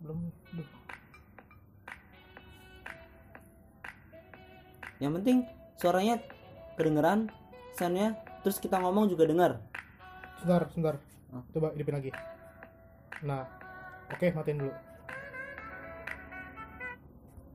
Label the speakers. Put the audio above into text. Speaker 1: belum belum.
Speaker 2: Yang penting suaranya kedengeran, soundnya terus kita ngomong juga dengar.
Speaker 1: sebentar sebentar
Speaker 2: Hah?
Speaker 1: coba hidupin lagi nah oke matiin dulu